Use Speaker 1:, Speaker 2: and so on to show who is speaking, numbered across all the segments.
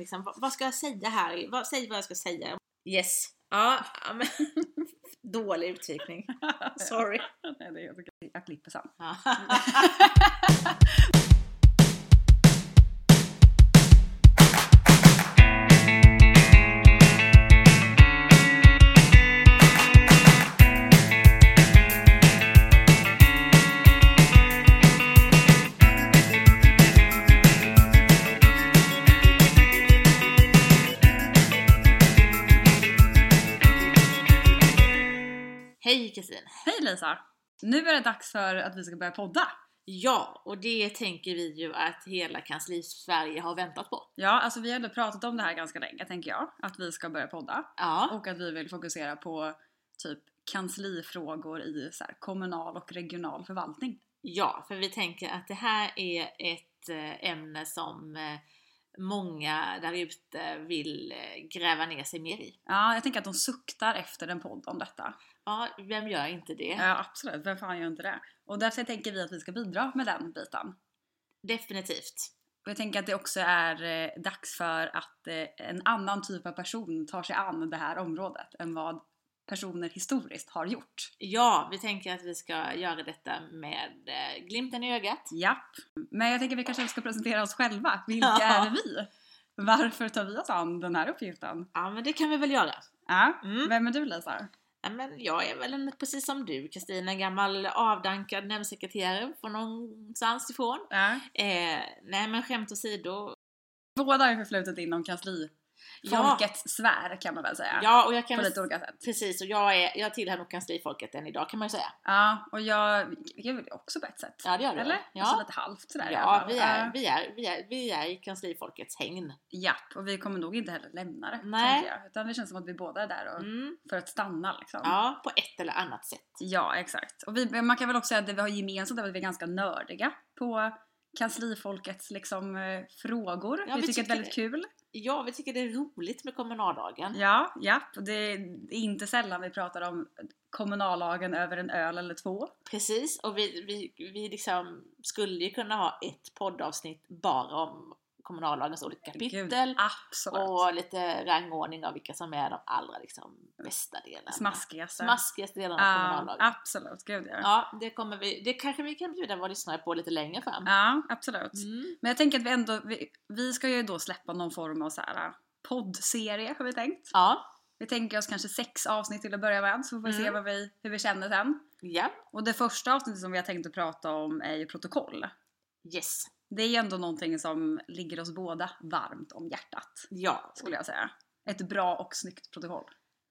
Speaker 1: Liksom, vad, vad ska jag säga här? Vad, säg vad jag ska säga.
Speaker 2: Yes. Ja, ja, men, dålig uttryckning. Sorry.
Speaker 3: Nej, det är helt okej. Jag klipper sen.
Speaker 1: Ja. Hej Kristin!
Speaker 3: Hej Lisa! Nu är det dags för att vi ska börja podda.
Speaker 1: Ja, och det tänker vi ju att hela kansli Sverige har väntat på.
Speaker 3: Ja, alltså vi har ändå pratat om det här ganska länge tänker jag. Att vi ska börja podda.
Speaker 1: Ja,
Speaker 3: Och att vi vill fokusera på typ kanslifrågor i så här, kommunal och regional förvaltning.
Speaker 1: ja för vi tänker att det här är ett eh, ämne som eh, många där ute vill eh, gräva ner sig mer i.
Speaker 3: Ja, jag tänker att de suktar efter en podd om detta.
Speaker 1: Ja, vem gör inte det?
Speaker 3: Ja, absolut. Vem fan gör inte det? Och därför tänker vi att vi ska bidra med den biten.
Speaker 1: Definitivt.
Speaker 3: Och jag tänker att det också är eh, dags för att eh, en annan typ av person tar sig an det här området än vad personer historiskt har gjort.
Speaker 1: Ja, vi tänker att vi ska göra detta med eh, glimten i ögat.
Speaker 3: Japp. Men jag tänker vi kanske ska presentera oss själva. Vilka
Speaker 1: Ja.
Speaker 3: är vi? Varför tar vi oss an den här uppgiften?
Speaker 1: Ja, men det kan vi väl göra.
Speaker 3: Ja.
Speaker 1: Mm.
Speaker 3: Vem är du Lisa?
Speaker 1: Ja, men jag är väl en, precis som du Kristina, en gammal avdankad nämndsekreterare från någonstans ifrån.
Speaker 3: Ja.
Speaker 1: Eh, nej men skämt åsido.
Speaker 3: Båda har förflutet inom kansli.
Speaker 1: Ja.
Speaker 3: Folkets sfär kan man väl säga.
Speaker 1: Ja, och jag kan
Speaker 3: På
Speaker 1: väl,
Speaker 3: lite olika sätt.
Speaker 1: precis, och jag, är, jag tillhör nog kanslifolket än idag kan man ju säga.
Speaker 3: Ja, och jag är väl också på ett sätt.
Speaker 1: Ja, det gör du.
Speaker 3: Eller? Alltså
Speaker 1: Ja,
Speaker 3: lite halvt sådär i alla
Speaker 1: ja
Speaker 3: fall.
Speaker 1: vi, är,
Speaker 3: Ja.
Speaker 1: vi, är, vi, är, vi är i kanslifolkets hägn.
Speaker 3: Japp, och vi kommer nog inte heller lämna det.
Speaker 1: Nej.
Speaker 3: tänker Jag. Utan det känns som att vi båda är där och,
Speaker 1: Mm,
Speaker 3: för att stanna liksom.
Speaker 1: ja, på ett eller annat sätt.
Speaker 3: Ja, exakt. Och vi, man kan väl också säga att det vi har gemensamt är att vi är ganska nördiga på kanslifolkets liksom, eh, frågor.
Speaker 1: Ja,
Speaker 3: vi,
Speaker 1: vi
Speaker 3: tycker det är väldigt
Speaker 1: tycker
Speaker 3: kul.
Speaker 1: Ja, vi tycker det är roligt med kommunaldagen.
Speaker 3: Ja, japp. Och det är inte sällan vi pratar om kommunallagen över en öl eller två.
Speaker 1: Precis, och vi, vi, vi liksom skulle ju kunna ha ett poddavsnitt bara om kommunallagens olika kapitel.
Speaker 3: absolut.
Speaker 1: Och lite rangordning av vilka som är de allra liksom bästa delarna.
Speaker 3: Smaskigaste.
Speaker 1: Smaskigaste delarna av
Speaker 3: Ja,
Speaker 1: kommunallagen.
Speaker 3: absolut. Gud ja.
Speaker 1: Ja, det kommer vi, det kanske vi kan bjuda våra lyssnare på lite längre fram.
Speaker 3: Ja, absolut.
Speaker 1: Mm.
Speaker 3: Men jag tänker att vi ändå, vi, vi ska ju då släppa någon form av så här äh, poddserie har vi tänkt.
Speaker 1: Ja,
Speaker 3: Vi tänker oss kanske sex avsnitt till att börja med så får vi se
Speaker 1: Mm.
Speaker 3: vad vi, hur vi känner sen.
Speaker 1: ja,
Speaker 3: Och det första avsnittet som vi har tänkt att prata om är ju protokoll.
Speaker 1: yes,
Speaker 3: Det är ju ändå någonting som ligger oss båda varmt om hjärtat,
Speaker 1: ja,
Speaker 3: skulle jag säga. Ett bra och snyggt protokoll.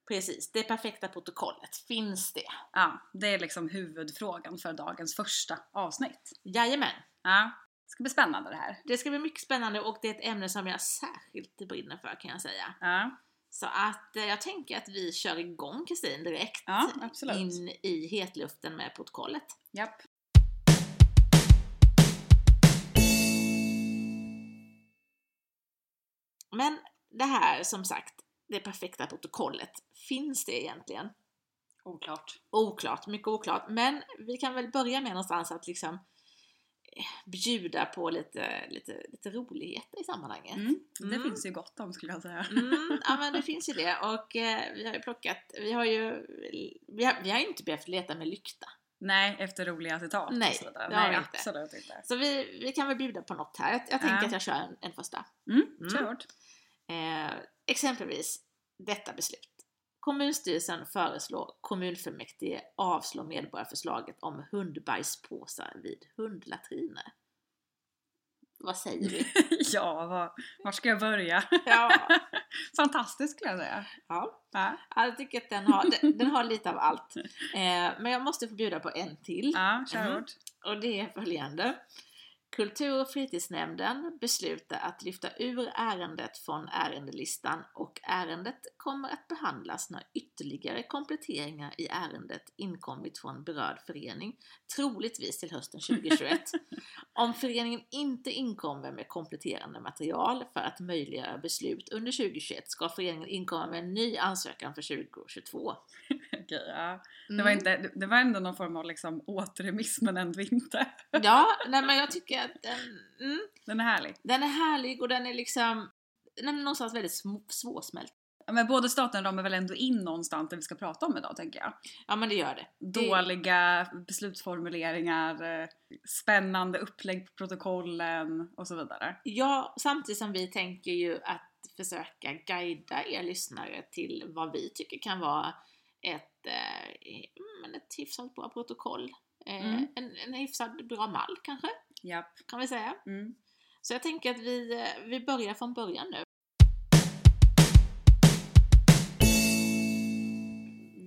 Speaker 1: precis. Det perfekta protokollet, finns det?
Speaker 3: Ja, det är liksom huvudfrågan för dagens första avsnitt.
Speaker 1: Jajamän,
Speaker 3: Ja, det ska bli spännande det här.
Speaker 1: det ska bli mycket spännande och det är ett ämne som jag särskilt brinner för kan jag säga.
Speaker 3: Ja,
Speaker 1: Så att eh, jag tänker att vi kör igång Kristin direkt
Speaker 3: Ja, absolut.
Speaker 1: in i hetluften med protokollet.
Speaker 3: japp.
Speaker 1: Men det här som sagt, det perfekta protokollet, finns det egentligen?
Speaker 3: Oklart.
Speaker 1: Oklart, mycket oklart. Men vi kan väl börja med någonstans att liksom eh, bjuda på lite, lite, lite roligheter i sammanhanget.
Speaker 3: Mm, det
Speaker 1: Mm.
Speaker 3: finns ju gott om skulle jag säga.
Speaker 1: Mm, ja men det finns ju det och eh, vi har ju plockat, vi har ju, vi har, vi har ju inte behövt leta med lykta.
Speaker 3: Nej, efter roliga citat
Speaker 1: Nej,
Speaker 3: och sådär.
Speaker 1: det har
Speaker 3: Nej,
Speaker 1: vi inte.
Speaker 3: absolut inte.
Speaker 1: Så vi, vi kan väl bjuda på något här. Jag, jag tänker
Speaker 3: Ja.
Speaker 1: att jag kör en, en första.
Speaker 3: Mm,
Speaker 1: Mm.
Speaker 3: kör hårt.
Speaker 1: Eh, exempelvis detta beslut. Kommunstyrelsen föreslår kommunfullmäktige avslå medborgarförslaget om hundbajspåsar vid hundlatriner. Vad säger vi?
Speaker 3: ja, var, var ska jag börja?
Speaker 1: ja,
Speaker 3: Fantastiskt skulle jag säga.
Speaker 1: ja.
Speaker 3: Ja,
Speaker 1: Jag tycker att den har, den, den har lite av allt. Eh, men jag måste få bjuda på en till.
Speaker 3: ja kör
Speaker 1: Mm.
Speaker 3: hårt.
Speaker 1: Och det är följande. Kultur och fritidsnämnden beslutar att lyfta ur ärendet från ärendelistan och ärendet kommer att behandlas när ytterligare kompletteringar i ärendet inkommit från berörd förening, troligtvis till hösten 2021. Om föreningen inte inkommer med kompletterande material för att möjliggöra beslut under 2021 ska föreningen inkomma med en ny ansökan för 2022.
Speaker 3: Okej, ja. Det var,
Speaker 1: Mm.
Speaker 3: inte, det- det var ändå någon form av liksom återremiss men ändå inte.
Speaker 1: Ja, nej men jag tycker att den, mm,
Speaker 3: Den är härlig.
Speaker 1: Den är härlig och den är liksom nej, men någonstans väldigt sm- svårsmält.
Speaker 3: Ja, Men både staten ramar väl ändå in någonstans det vi ska prata om idag tänker jag.
Speaker 1: Ja men det gör det. det
Speaker 3: Dåliga beslutsformuleringar, eh, spännande upplägg på protokollen och så vidare.
Speaker 1: Ja, samtidigt som vi tänker ju att försöka guida er lyssnare till vad vi tycker kan vara ett, eh, mm, ett hyfsat bra protokoll. Eh,
Speaker 3: Mm.
Speaker 1: en, en hyfsad bra mall kanske,
Speaker 3: Japp.
Speaker 1: kan vi säga.
Speaker 3: Mm.
Speaker 1: Så jag tänker att vi, eh, vi börjar från början nu.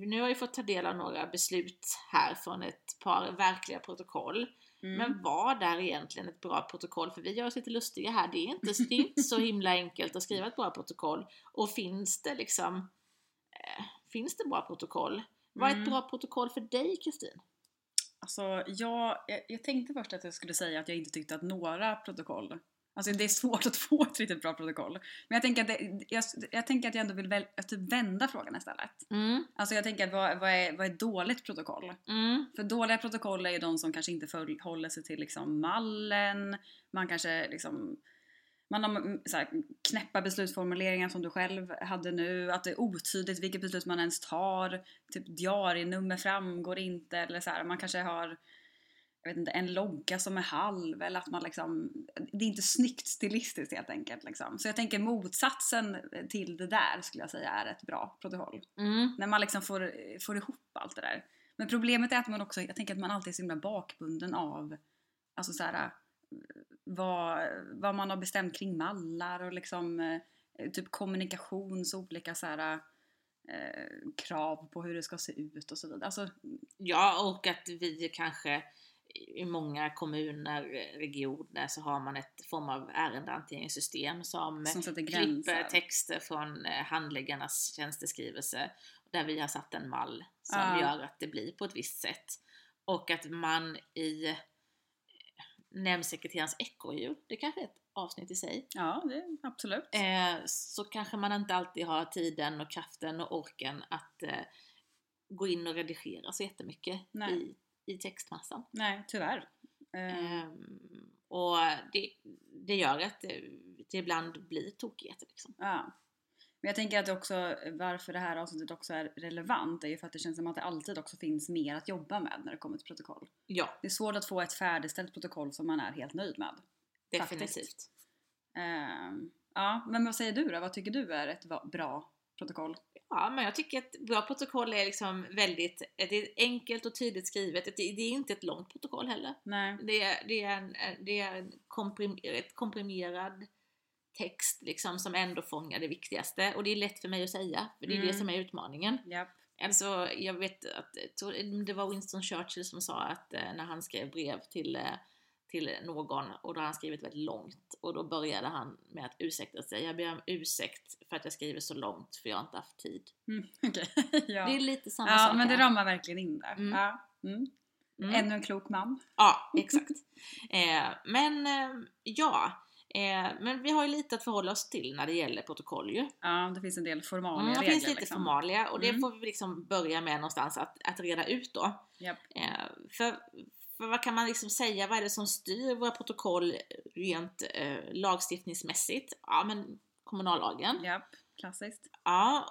Speaker 1: Nu har vi fått ta del av några beslut här från ett par verkliga protokoll.
Speaker 3: Mm.
Speaker 1: Men vad är egentligen ett bra protokoll? För vi gör oss lite lustiga här. Det är inte, det är inte så himla enkelt att skriva ett bra protokoll. Och finns det liksom... Eh, finns det bra protokoll? Vad är ett
Speaker 3: Mm.
Speaker 1: bra protokoll för dig, Kristin?
Speaker 3: Alltså, jag, jag, jag tänkte först att jag skulle säga att jag inte tyckte att några protokoll Alltså det är svårt att få ett riktigt bra protokoll. Men jag tänker att, det, jag, jag, tänker att jag ändå vill väl, att typ vända frågan istället.
Speaker 1: Mm,
Speaker 3: Alltså jag tänker att vad, vad, är, vad är ett dåligt protokoll?
Speaker 1: mm,
Speaker 3: För dåliga protokoll är ju de som kanske inte följ- håller sig till liksom mallen, man kanske liksom man har mm, så här, knäppa beslutsformuleringar som du själv hade nu, att det är otydligt vilket beslut man ens tar, typ diarienummer framgår inte eller så här, man kanske har jag vet inte, en logga som är halv eller att man liksom, det är inte snyggt stilistiskt helt enkelt liksom. Så jag tänker motsatsen till det där skulle jag säga är ett bra protokoll.
Speaker 1: mm.
Speaker 3: När man liksom får, får ihop allt det där. Men problemet är att man också, jag tänker att man alltid är så himla bakbunden av alltså så här, eh, vad, vad man har bestämt kring mallar och liksom eh, typ kommunikations och olika så här, eh, krav på hur det ska se ut och så vidare. Alltså,
Speaker 1: Ja, och att vi kanske i många kommuner, eh, regioner, så har man ett form av ärendehanteringssystem som
Speaker 3: som sätter
Speaker 1: klipper
Speaker 3: gränser.
Speaker 1: texter från eh, handläggarnas tjänsteskrivelse där vi har satt en mall som
Speaker 3: Ja.
Speaker 1: gör att det blir på ett visst sätt. Och att man i eh, nämndsekreterarens ekorrhjul, det kanske är ett avsnitt i sig,
Speaker 3: Ja, det, absolut.
Speaker 1: eh, så kanske man inte alltid har tiden och kraften och orken att eh, gå in och redigera så jättemycket
Speaker 3: Nej.
Speaker 1: i, i textmassan.
Speaker 3: Nej, tyvärr. Eh,
Speaker 1: Ehm, och det, det gör att eh, det ibland blir tokigheter. Liksom.
Speaker 3: Ja. Men jag tänker att det också, varför det här avsnittet också är relevant är ju för att det känns som att det alltid också finns mer att jobba med när det kommer till protokoll.
Speaker 1: Ja,
Speaker 3: Det är svårt att få ett färdigställt protokoll som man är helt nöjd med.
Speaker 1: definitivt.
Speaker 3: Faktiskt. Ehm, ja, men vad säger du då? Vad tycker du är ett va- bra protokoll?
Speaker 1: Ja, men jag tycker att bra protokoll är liksom väldigt det är enkelt och tydligt skrivet. Det, det är inte ett långt protokoll heller.
Speaker 3: Nej.
Speaker 1: Det är, det är en, det är en komprim, ett komprimerad text liksom som ändå fångar det viktigaste. Och det är lätt för mig att säga, för det är
Speaker 3: Mm.
Speaker 1: det som är utmaningen.
Speaker 3: Japp.
Speaker 1: Alltså, jag vet att jag tror det var Winston Churchill som sa att eh, när han skrev brev till, eh, till någon och då hade han skrivit väldigt långt och då började han med att ursäkta sig. Jag ber om ursäkt för att jag skriver så långt för jag har inte haft tid.
Speaker 3: Mm, Okej. ja.
Speaker 1: Det är lite samma
Speaker 3: ja,
Speaker 1: sak
Speaker 3: men det
Speaker 1: här.
Speaker 3: ramar verkligen in där.
Speaker 1: Mm.
Speaker 3: Ja. Mm.
Speaker 1: Mm.
Speaker 3: Ännu en klok man.
Speaker 1: Ja, exakt. Eh, men eh, ja, eh, men vi har ju lite att förhålla oss till när det gäller protokoll ju.
Speaker 3: Ja, det finns en del formalia
Speaker 1: Mm, det
Speaker 3: regler.
Speaker 1: finns lite
Speaker 3: liksom.
Speaker 1: formalia och det
Speaker 3: Mm.
Speaker 1: får vi liksom börja med någonstans att, att reda ut då.
Speaker 3: Japp.
Speaker 1: Eh, för, för vad kan man liksom säga, vad är det som styr våra protokoll rent eh, lagstiftningsmässigt? Ja, men kommunallagen. Ja,
Speaker 3: Japp. Klassiskt.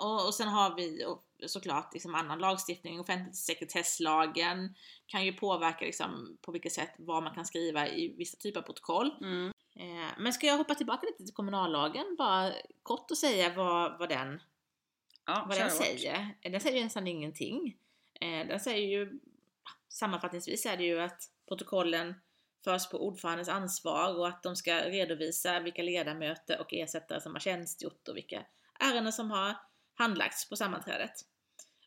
Speaker 1: och, och sen har vi och, såklart liksom annan lagstiftning, offentlig sekretesslagen kan ju påverka liksom, på vilket sätt vad man kan skriva i vissa typer av protokoll.
Speaker 3: Mm.
Speaker 1: Eh, men ska jag hoppa tillbaka lite till kommunallagen bara kort och säga vad, vad den
Speaker 3: Ja,
Speaker 1: vad
Speaker 3: kör
Speaker 1: den
Speaker 3: hårt.
Speaker 1: säger. Den säger ju nästan ingenting. Eh, Den säger ju, sammanfattningsvis är det ju att protokollen förs på ordförandens ansvar och att de ska redovisa vilka ledamöter och ersättare som har tjänstgjort och vilka ärenden som har handlagts på sammanträdet.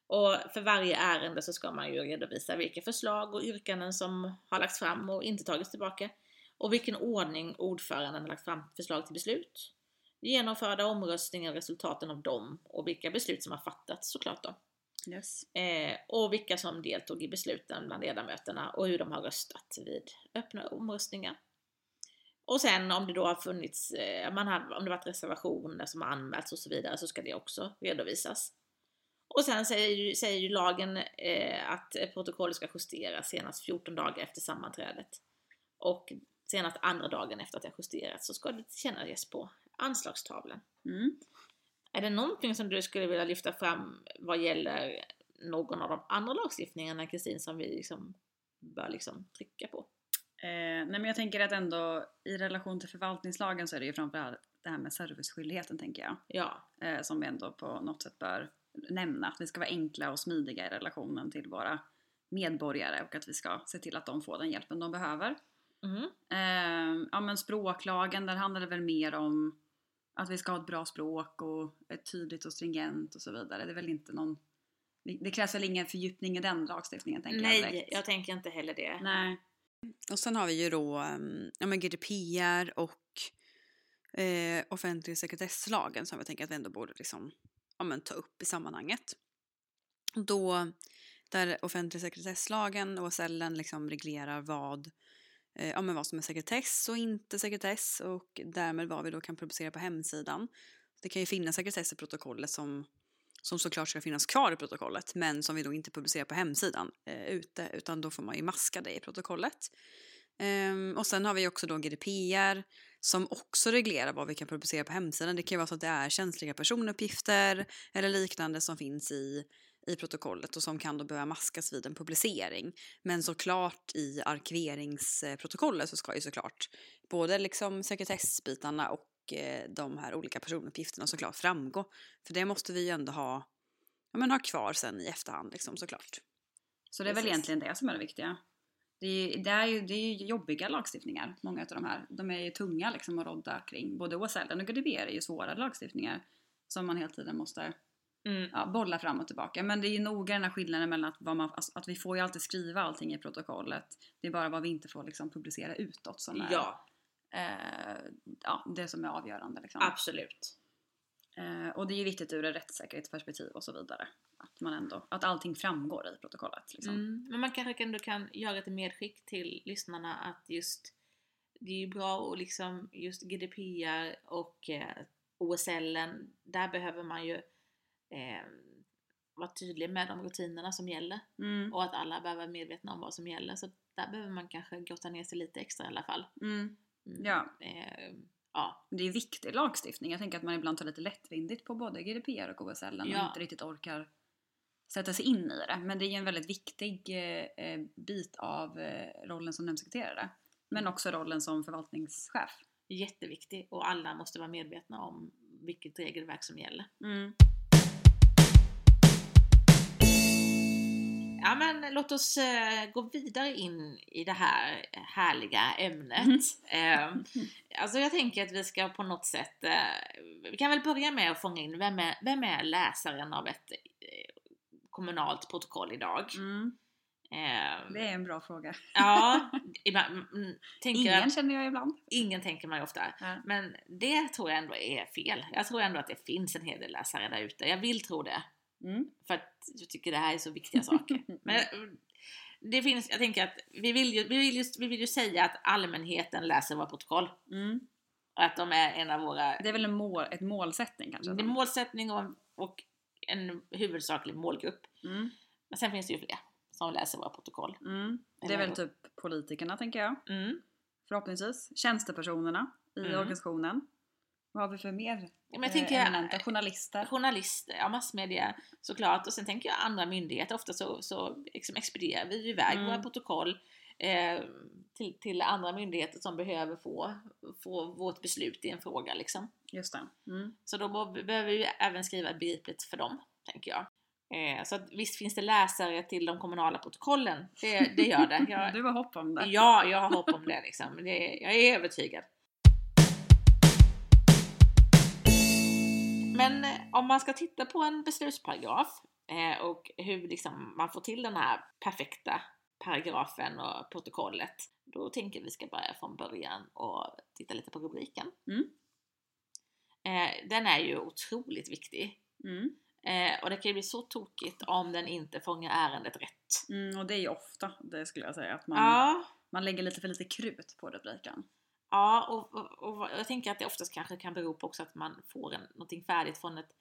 Speaker 1: Och för varje ärende så ska man ju redovisa vilka förslag och yrkanden som har lagts fram och inte tagits tillbaka och vilken ordning ordföranden har lagt fram förslag till beslut genomförda omröstningar, resultaten av dem och vilka beslut som har fattats såklart då.
Speaker 3: Yes.
Speaker 1: Eh, och vilka som deltog i besluten bland ledamöterna och hur de har röstat vid öppna omröstningar. Och sen om det då har funnits, eh, man har, om det varit reservationer som har anmälts och så vidare så ska det också redovisas. Och sen säger ju, säger ju lagen eh, att protokollet ska justeras senast 14 dagar efter sammanträdet. Och senast andra dagen efter att det har justerats så ska det tillkännages på anslagstavlan.
Speaker 3: Mm.
Speaker 1: Är det någonting som du skulle vilja lyfta fram vad gäller någon av de andra lagstiftningarna Kristin som vi liksom bör liksom trycka på?
Speaker 3: Eh, nej men jag tänker att ändå i relation till förvaltningslagen så är det ju framförallt det här med serviceskyldigheten tänker jag.
Speaker 1: Ja,
Speaker 3: eh, som vi ändå på något sätt bör nämna. Att vi ska vara enkla och smidiga i relationen till våra medborgare och att vi ska se till att de får den hjälpen de behöver.
Speaker 1: mm.
Speaker 3: Eh, ja men språklagen, där handlar det väl mer om att vi ska ha ett bra språk och ett tydligt och stringent och så vidare. Det är väl inte någon... Det krävs väl ingen fördjupning i den lagstiftningen tänker jag
Speaker 1: nej,
Speaker 3: direkt.
Speaker 1: jag tänker inte heller det.
Speaker 3: Nej.
Speaker 4: Och sen har vi ju då ehm, ja, men GDPR och eh, offentlig sekretesslagen som jag tänker att vi ändå borde liksom, ja, men, ta upp i sammanhanget. Då, där offentlig sekretesslagen, OSL, liksom reglerar vad, eh, ja, men vad som är sekretess och inte sekretess och därmed vad vi då kan publicera på hemsidan. Det kan ju finnas sekretess i protokollet som, som såklart ska finnas kvar i protokollet men som vi då inte publicerar på hemsidan eh, ute utan då får man ju maska det i protokollet. Ehm, och sen har vi ju också då GDPR som också reglerar vad vi kan publicera på hemsidan. Det kan ju vara så att det är känsliga personuppgifter eller liknande som finns i, i protokollet och som kan då behöva maskas vid en publicering. Men såklart i arkiveringsprotokollet så ska ju såklart både liksom sekretessbitarna och eh, de här olika personuppgifterna såklart framgå. För det måste vi ju ändå ha, ja, men ha kvar sen i efterhand liksom såklart.
Speaker 3: Så det är väl
Speaker 1: Precis.
Speaker 3: egentligen det som är det viktiga. Det är, ju- det, är ju, det är ju jobbiga lagstiftningar, många av de här. De är ju tunga liksom att rodda kring. Både OSL och GDPR är ju svåra lagstiftningar som man hela tiden måste
Speaker 1: Mm.
Speaker 3: ja, bolla fram och tillbaka. Men det är ju noga den här skillnaden mellan att, vad man, alltså, att vi får ju alltid skriva allting i protokollet. Det är bara vad vi inte får liksom publicera utåt som är
Speaker 1: Ja,
Speaker 3: eh, ja, det som är avgörande. Liksom.
Speaker 1: absolut.
Speaker 3: Eh, och det är ju viktigt ur ett rättssäkerhetsperspektiv och så vidare. Att, man ändå, att allting framgår i protokollet. Liksom.
Speaker 1: Mm. Men man kanske ändå kan göra ett medskick till lyssnarna att just det är ju bra att liksom just GDPR och eh, OSL, en, där behöver man ju eh, vara tydlig med de rutinerna som gäller
Speaker 3: Mm,
Speaker 1: och att alla behöver vara medvetna om vad som gäller. Så där behöver man kanske grotta ner sig lite extra i alla fall.
Speaker 3: mm.
Speaker 1: Mm.
Speaker 3: Ja.
Speaker 1: Eh, ja.
Speaker 3: Men Det är viktig lagstiftning. Jag tänker att man ibland tar lite lättvindigt på både GDPR och OSL och
Speaker 1: Ja.
Speaker 3: inte riktigt orkar sätta sig in i det. Men det är ju en väldigt viktig eh, eh, bit av eh, rollen som nämndsekreterare. Men
Speaker 1: Mm.
Speaker 3: också rollen som förvaltningschef.
Speaker 1: Jätteviktig och alla måste vara medvetna om vilket regelverk som gäller. Ja men låt oss eh, gå vidare in i det här härliga
Speaker 3: Mm.
Speaker 1: ämnet. Eh, alltså jag tänker att vi ska på något sätt, eh, vi kan väl börja med att fånga in vem är, vem är läsaren av ett eh, kommunalt protokoll idag?
Speaker 3: Mm.
Speaker 1: Eh,
Speaker 3: Det är en bra fråga.
Speaker 1: ja, ibland, mm, tänker
Speaker 3: Ingen
Speaker 1: att,
Speaker 3: känner jag ibland.
Speaker 1: ingen tänker man ju ofta.
Speaker 3: Ja.
Speaker 1: Men det tror jag ändå är fel. Jag tror ändå att det finns en hel del läsare där ute. Jag vill tro det.
Speaker 3: Mm.
Speaker 1: För att jag tycker det här är så viktiga saker. Men jag- det finns, jag tänker att vi vill ju, vi vill ju, vi vill ju säga att allmänheten läser våra protokoll.
Speaker 3: Mm.
Speaker 1: Och att de är en av våra,
Speaker 3: Det är väl en mål, ett målsättning kanske?
Speaker 1: det är målsättning och, och en huvudsaklig målgrupp.
Speaker 3: Mm.
Speaker 1: Men sen finns det ju fler som läser våra protokoll.
Speaker 3: Mm. Det är väl typ politikerna tänker jag.
Speaker 1: Mm.
Speaker 3: Förhoppningsvis. Tjänstepersonerna i
Speaker 1: Mm.
Speaker 3: organisationen. Vad har vi för mer
Speaker 1: Ja, Men jag
Speaker 3: eh,
Speaker 1: tänker
Speaker 3: eminenta journalister?
Speaker 1: journalister, ja, massmedia såklart och sen tänker jag andra myndigheter. Ofta så, så liksom expedierar vi ju iväg
Speaker 3: Mm.
Speaker 1: våra protokoll eh, till, till andra myndigheter som behöver få, få vårt beslut i en fråga liksom.
Speaker 3: Just det. Mm.
Speaker 1: Så då må- behöver vi ju även skriva begripligt för dem, tänker jag. Eh, så att, visst finns det läsare till de kommunala protokollen, det, det gör det. Jag,
Speaker 3: Du har hopp om det.
Speaker 1: Ja, jag har hopp om det liksom. Det, jag är övertygad. Men eh, om man ska titta på en beslutsparagraf eh, och hur liksom man får till den här perfekta paragrafen och protokollet. Då tänker vi ska börja från början och titta lite på rubriken.
Speaker 3: Mm.
Speaker 1: Eh, Den är ju otroligt viktig.
Speaker 3: Mm.
Speaker 1: Eh, Och det kan ju bli så tokigt om den inte fångar ärendet rätt.
Speaker 3: Mm, och det är ju ofta det skulle jag säga, att man,
Speaker 1: Ja,
Speaker 3: man lägger lite för lite krut på rubriken.
Speaker 1: Ja, och, och, och jag tänker att det oftast kanske kan bero på också att man får en, någonting färdigt från ett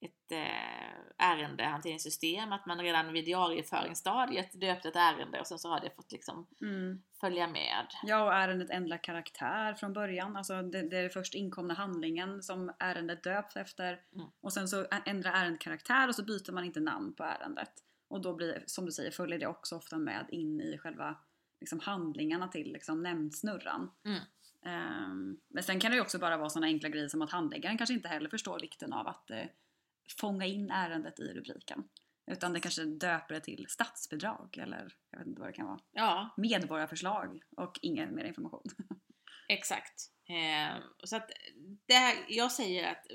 Speaker 1: ett eh, ärendehanteringssystem, att man redan vid diarieföringsstadiet döpte ett ärende och sen så har det fått liksom
Speaker 3: Mm.
Speaker 1: följa med.
Speaker 3: Ja, och ärendet ändrar karaktär från början. Alltså det, det är den först inkomna handlingen som ärendet döps efter.
Speaker 1: Mm.
Speaker 3: Och sen så ä- ändrar ärendet karaktär och så byter man inte namn på ärendet. Och då blir, som du säger, följer det också ofta med in i själva liksom, handlingarna till liksom, nämndsnurran.
Speaker 1: Mm.
Speaker 3: Ehm, men sen kan det ju också bara vara sådana enkla grejer som att handläggaren kanske inte heller förstår vikten av att eh, fånga in ärendet i rubriken. Utan det kanske döper det till statsbidrag eller jag vet inte vad det kan vara
Speaker 1: Ja,
Speaker 3: medborgarförslag och ingen mer information.
Speaker 1: Exakt. Eh, så att där, jag säger att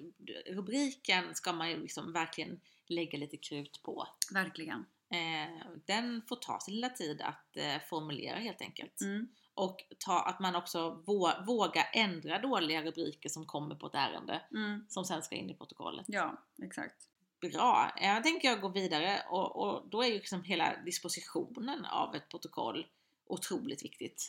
Speaker 1: rubriken ska man ju liksom verkligen lägga lite krut på.
Speaker 3: Verkligen.
Speaker 1: Eh, den får ta sin lilla tid att eh, formulera helt enkelt.
Speaker 3: Mm.
Speaker 1: Och ta, att man också vå, våga ändra dåliga rubriker som kommer på ett ärende
Speaker 3: Mm.
Speaker 1: som sen ska in i protokollet.
Speaker 3: Ja, exakt.
Speaker 1: Bra! Eh, Jag tänker jag gå vidare och, och då är ju liksom hela dispositionen av ett protokoll otroligt viktigt.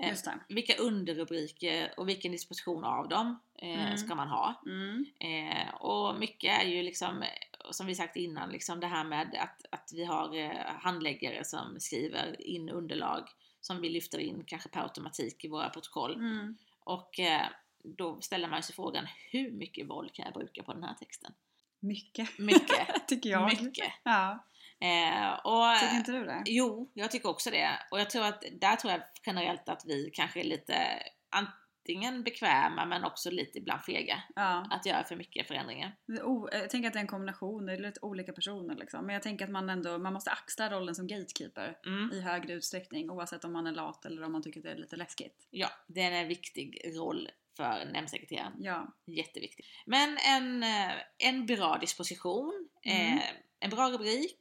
Speaker 1: Eh,
Speaker 3: Just det.
Speaker 1: vilka underrubriker och vilken disposition av dem eh,
Speaker 3: Mm.
Speaker 1: ska man ha.
Speaker 3: Mm.
Speaker 1: Eh, och mycket är ju liksom, eh, som vi sagt innan, liksom det här med att, att vi har eh, handläggare som skriver in underlag som vi lyfter in kanske per automatik i våra protokoll.
Speaker 3: Mm.
Speaker 1: Och eh, då ställer man sig frågan, hur mycket våld kan jag bruka på den här texten?
Speaker 3: Mycket.
Speaker 1: Mycket.
Speaker 3: Tycker jag.
Speaker 1: Mycket.
Speaker 3: Ja.
Speaker 1: Eh, och, eh,
Speaker 3: Tycker inte du det?
Speaker 1: Jo, jag tycker också det. Och jag tror att där tror jag generellt att vi kanske är lite antingen bekväma men också lite ibland fega.
Speaker 3: Ja.
Speaker 1: Att göra för mycket förändringar.
Speaker 3: Det är o- eh, Jag tänker att det är en kombination, det är lite olika personer liksom. Men jag tänker att man ändå, man måste axla rollen som gatekeeper
Speaker 1: Mm.
Speaker 3: i högre utsträckning oavsett om man är lat eller om man tycker att det är lite läskigt.
Speaker 1: Ja, det är en viktig roll för nämndsekreteraren.
Speaker 3: Ja.
Speaker 1: Jätteviktig. Men en, eh, en bra disposition,
Speaker 3: Mm.
Speaker 1: eh, en bra rubrik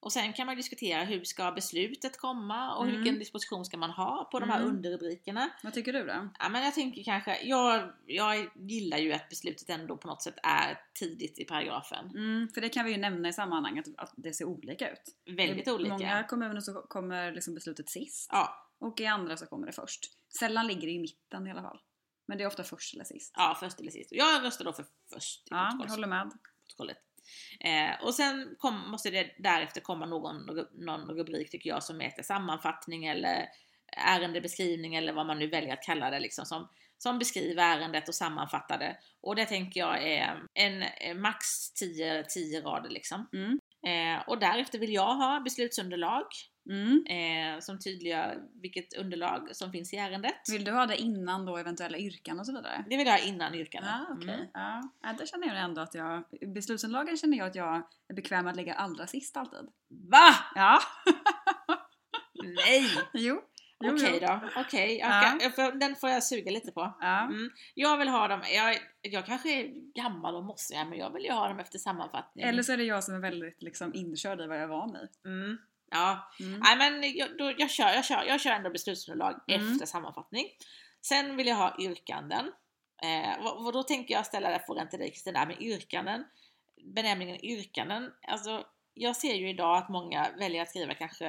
Speaker 1: och sen kan man diskutera hur ska beslutet komma och
Speaker 3: Mm.
Speaker 1: vilken disposition ska man ha på de här
Speaker 3: Mm.
Speaker 1: underrubrikerna.
Speaker 3: Vad tycker du då?
Speaker 1: Ja, men jag tänker kanske, jag, jag gillar ju att beslutet ändå på något sätt är tidigt i paragrafen.
Speaker 3: Mm, för det kan vi ju nämna i sammanhanget att det ser olika ut.
Speaker 1: Väldigt
Speaker 3: I
Speaker 1: olika.
Speaker 3: många kommuner så kommer liksom beslutet sist.
Speaker 1: Ja,
Speaker 3: Och i andra så kommer det först. Sällan ligger det i mitten i alla fall. Men det är ofta först eller sist.
Speaker 1: ja, först eller sist. Jag röstar då för först i
Speaker 3: Ja, jag
Speaker 1: protokolls-
Speaker 3: håller med.
Speaker 1: protokollet. Eh, och sen kom, måste det därefter komma någon, ru- någon rubrik tycker jag som heter sammanfattning eller ärendebeskrivning eller vad man nu väljer att kalla det liksom som, som beskriver ärendet och sammanfattar det. Och det tänker jag är en, eh, max 10, 10 rader liksom.
Speaker 3: Mm.
Speaker 1: Eh, och därefter vill jag ha beslutsunderlag
Speaker 3: Mm.
Speaker 1: eh, som tydliggör vilket underlag som finns i ärendet.
Speaker 3: Vill du ha det innan då eventuella yrkan och så vidare?
Speaker 1: Det vill jag ha innan yrkandet.
Speaker 3: Ja, Ah, okej.
Speaker 1: Mm.
Speaker 3: Ja. ja, där känner jag ändå att jag... Beslutsunderlagen känner jag att jag är bekväm att lägga allra sist alltid.
Speaker 1: Va?
Speaker 3: Ja,
Speaker 1: Nej!
Speaker 3: jo. Jo,
Speaker 1: Okej
Speaker 3: jo.
Speaker 1: då. Okej, jag
Speaker 3: Ja.
Speaker 1: kan- jag får- den får jag suga lite på.
Speaker 3: Ja.
Speaker 1: Mm. Jag vill ha dem, jag, jag kanske är gammal och mossig här, men jag vill ju ha dem efter sammanfattning.
Speaker 3: Eller så är det jag som är väldigt liksom inkörd i vad jag är van vid.
Speaker 1: Mm. Ja,
Speaker 3: Mm.
Speaker 1: nej men jag, då, jag, kör, jag, kör, jag kör ändå beslutsunderlag
Speaker 3: Mm.
Speaker 1: efter sammanfattning. Sen vill jag ha yrkanden. Eh, och, och då tänker jag ställa den frågan till dig Kristina, men yrkanden, benämningen yrkanden, alltså jag ser ju idag att många väljer att skriva kanske